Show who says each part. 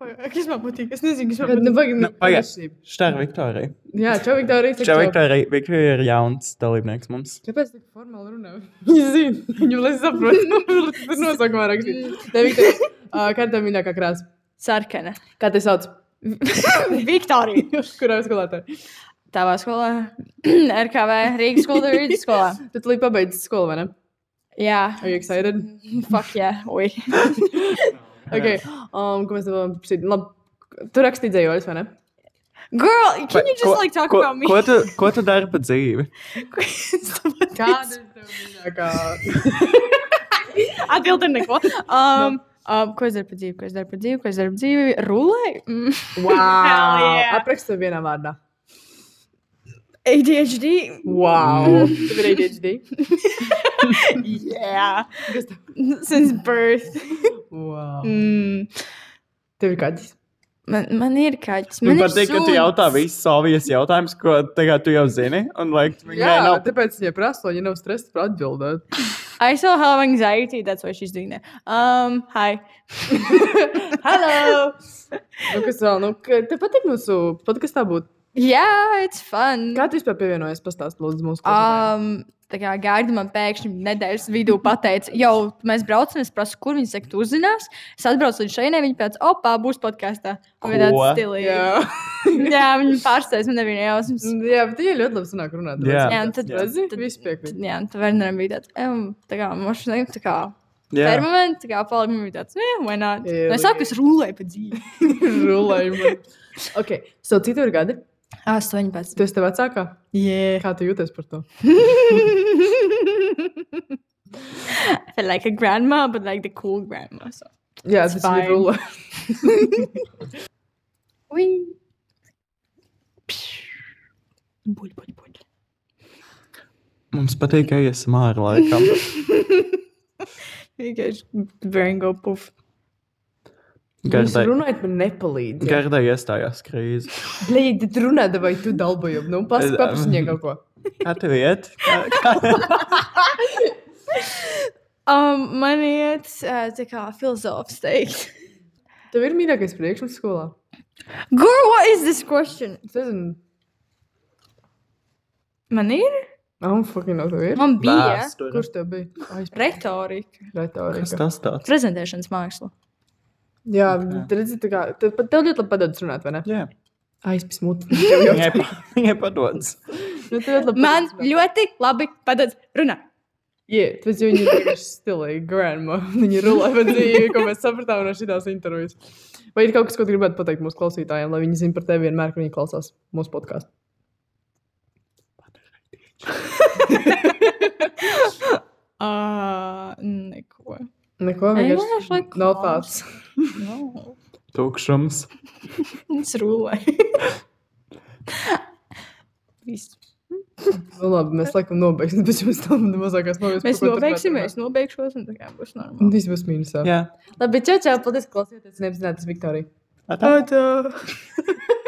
Speaker 1: Kas man patīk? Es nezinu, kas man
Speaker 2: Bet,
Speaker 1: patīk.
Speaker 2: nu, pagaidi,
Speaker 3: Nu, pagaid.
Speaker 2: drošība.
Speaker 3: Šitā ir Viktorija.
Speaker 2: Jā, čau, Viktorija.
Speaker 3: Šitā Viktorija, Viktorija ir jauns dalībnieks mums.
Speaker 2: Kāpēc tā formāli runā?
Speaker 1: Viņa zina, viņa lai saprotu. Tas nosaukumā rakstīt.
Speaker 2: Nē, Viktorija, ā, kāda ir mīļākā krāsa?
Speaker 4: Sarkana.
Speaker 2: Kā te sauc?
Speaker 4: Viktorija.
Speaker 2: Kurā skolotājā?
Speaker 4: Tavā skolā, RKV, Rīgas skolā, Rīgas skolā.
Speaker 2: Tu līdz pabeidz skolu, vai ne?
Speaker 4: Jā,
Speaker 2: Are you excited?
Speaker 4: fuck yeah, ui.
Speaker 2: Okay. Um, ko mēs tev vēlam prasīt? Labi. Tu rakstīji dzējoļus, vai ne?
Speaker 4: Girl, can
Speaker 3: Vai-
Speaker 4: you just like talk
Speaker 3: ko,
Speaker 4: about me?
Speaker 3: Ko tu, ko tu dari pa dzīvi?
Speaker 2: Kāda ir tev mīļākā?
Speaker 4: Atbildi neko. Um, um, ko es daru pa dzīvi, ko es daru pa dzīvi, ko es daru pa dzīvi? Rulēju? Mm.
Speaker 2: Wow!
Speaker 4: yeah.
Speaker 2: Apraksta to vienā vārdā.
Speaker 4: ADHD?
Speaker 2: Wow! Tev ir ADHD?
Speaker 4: Yeah.
Speaker 2: Kas tev?
Speaker 4: Since birth.
Speaker 2: Wow!
Speaker 4: Mm.
Speaker 2: Tev ir kaķis?
Speaker 4: Man, man ir kaķis. Man
Speaker 3: Man
Speaker 4: ir
Speaker 3: patīk, ka tu
Speaker 4: suns.
Speaker 3: jautā visus savus jautājumus, ko tagad tu jau zini. Un, like, viņi
Speaker 2: Jā,
Speaker 3: yeah. nav
Speaker 2: tāpēc viņa prasa, lai viņa nav stresa par atbildēt.
Speaker 4: I still have anxiety. That's why she's doing that. Um, hi. Hello.
Speaker 2: Nu, kas vēl? Nu, ka- tev patīk mūsu podkāstā būt?
Speaker 4: Yeah, it's fun.
Speaker 2: Kā tu vispār pievienojies? Pastāst, lūdzu, mūsu klausītājiem.
Speaker 4: Um, tā kā gaida man pēkšņi nedēļas vidū pateica, jau mēs braucam, es prasu, kur viņi saka, tu uzzinās. Es atbraucu līdz šeit, viņa pēc opā būs podkāstā. Viņa
Speaker 3: Ko?
Speaker 4: tāda stilīga.
Speaker 2: Jā, Mm.
Speaker 4: Jā, viņa pārsteidz, man nebija jausmas.
Speaker 2: jā bet viņi ļoti labi sanāk runāt.
Speaker 3: Jā.
Speaker 4: Jā, un tad-
Speaker 2: redzi,
Speaker 4: tad-
Speaker 2: viss piekrīt.
Speaker 4: Jā, un tā Werneram bija tāds, um, tā kā, mošu, tā kā,
Speaker 3: Jā.
Speaker 4: permanent, tā kā, palīgi bija tāds, yeah, why not?
Speaker 2: Jā,
Speaker 4: Nu, Es saku, es rulēju pa dzīvi.
Speaker 2: Rulējumu. Ok, so citi ir gadi.
Speaker 4: 18.
Speaker 2: Tu esi te vecākā?
Speaker 4: Yeah.
Speaker 2: Kā tu jūties par to?
Speaker 4: I feel like a grandma, but like the cool grandma. So.
Speaker 2: Jā,
Speaker 4: It's
Speaker 2: tas ir
Speaker 4: fine.
Speaker 2: rulē.
Speaker 4: Oui. Buļ, buļ, buļ.
Speaker 3: Mums patīk, ka iesim ārā laikam.
Speaker 4: Vienkārši bērngo puf.
Speaker 2: Jūs
Speaker 3: Gardai,
Speaker 2: runājat, man nepalīdz. Gar...
Speaker 3: gardai iestājās krīze.
Speaker 2: Blīdi, tu runā, vai tu dalbojam. Nu,
Speaker 3: Es-
Speaker 2: pasaka, paprasņie kaut ko.
Speaker 3: Kā tev iet? Kā, kā?
Speaker 4: Um, man iet, uh, tā kā filozofs teikt.
Speaker 2: Tev ir mīļākais priekšmets skolā?
Speaker 4: Girl, what is this question?
Speaker 2: Es nezinu.
Speaker 4: Man ir?
Speaker 2: Nav, Ah, fucking, nav tev ir.
Speaker 4: Man bija
Speaker 3: Vēsture.
Speaker 2: Kurš tev bija? Ai, es
Speaker 4: retorika.
Speaker 3: Kas
Speaker 2: retorika.
Speaker 3: tas tāds?
Speaker 4: Prezentēšanas māksla.
Speaker 2: Jā, redzi, tā kā, tev, tev ļoti labi padodas runāt, vai ne?
Speaker 3: Jā,
Speaker 2: Aizpis mut.
Speaker 3: viņai pa- viņai padodas.
Speaker 2: Nu, tev ļoti labi
Speaker 4: Man
Speaker 2: padodas runāt.
Speaker 4: ļoti labi padodas runā.
Speaker 2: Jā, tas jau ir vienkārši stilīgi, grandma. Viņa rulē pa dzīvi, ko mēs sapratām no šīs intervijas. Vai ir kaut kas, ko tu gribētu pateikt mūsu klausītājiem, lai viņi zinātu par tevi vienmēr, kad viņi klausās mūsu podkāstu?
Speaker 4: Uh, neko.
Speaker 2: Neko
Speaker 4: Ej,
Speaker 2: vienkārši.
Speaker 4: vienkārši, like,
Speaker 2: Nav tāds.
Speaker 4: klaus. No.
Speaker 3: Tukšums.
Speaker 4: Es rulēju. Viss.
Speaker 2: Nu, labi, mēs laikam nobeigsim, bet jums tam mazākās novies.
Speaker 4: Mēs nobeigsimies, nobeigšos, un tā kā būs normāli.
Speaker 2: Viss būs mīnusā.
Speaker 3: Jā.
Speaker 2: Labi, čau, čau, paldies, ka klausījāties. Neapzināties, Viktorija.
Speaker 3: Atā.
Speaker 2: Atā.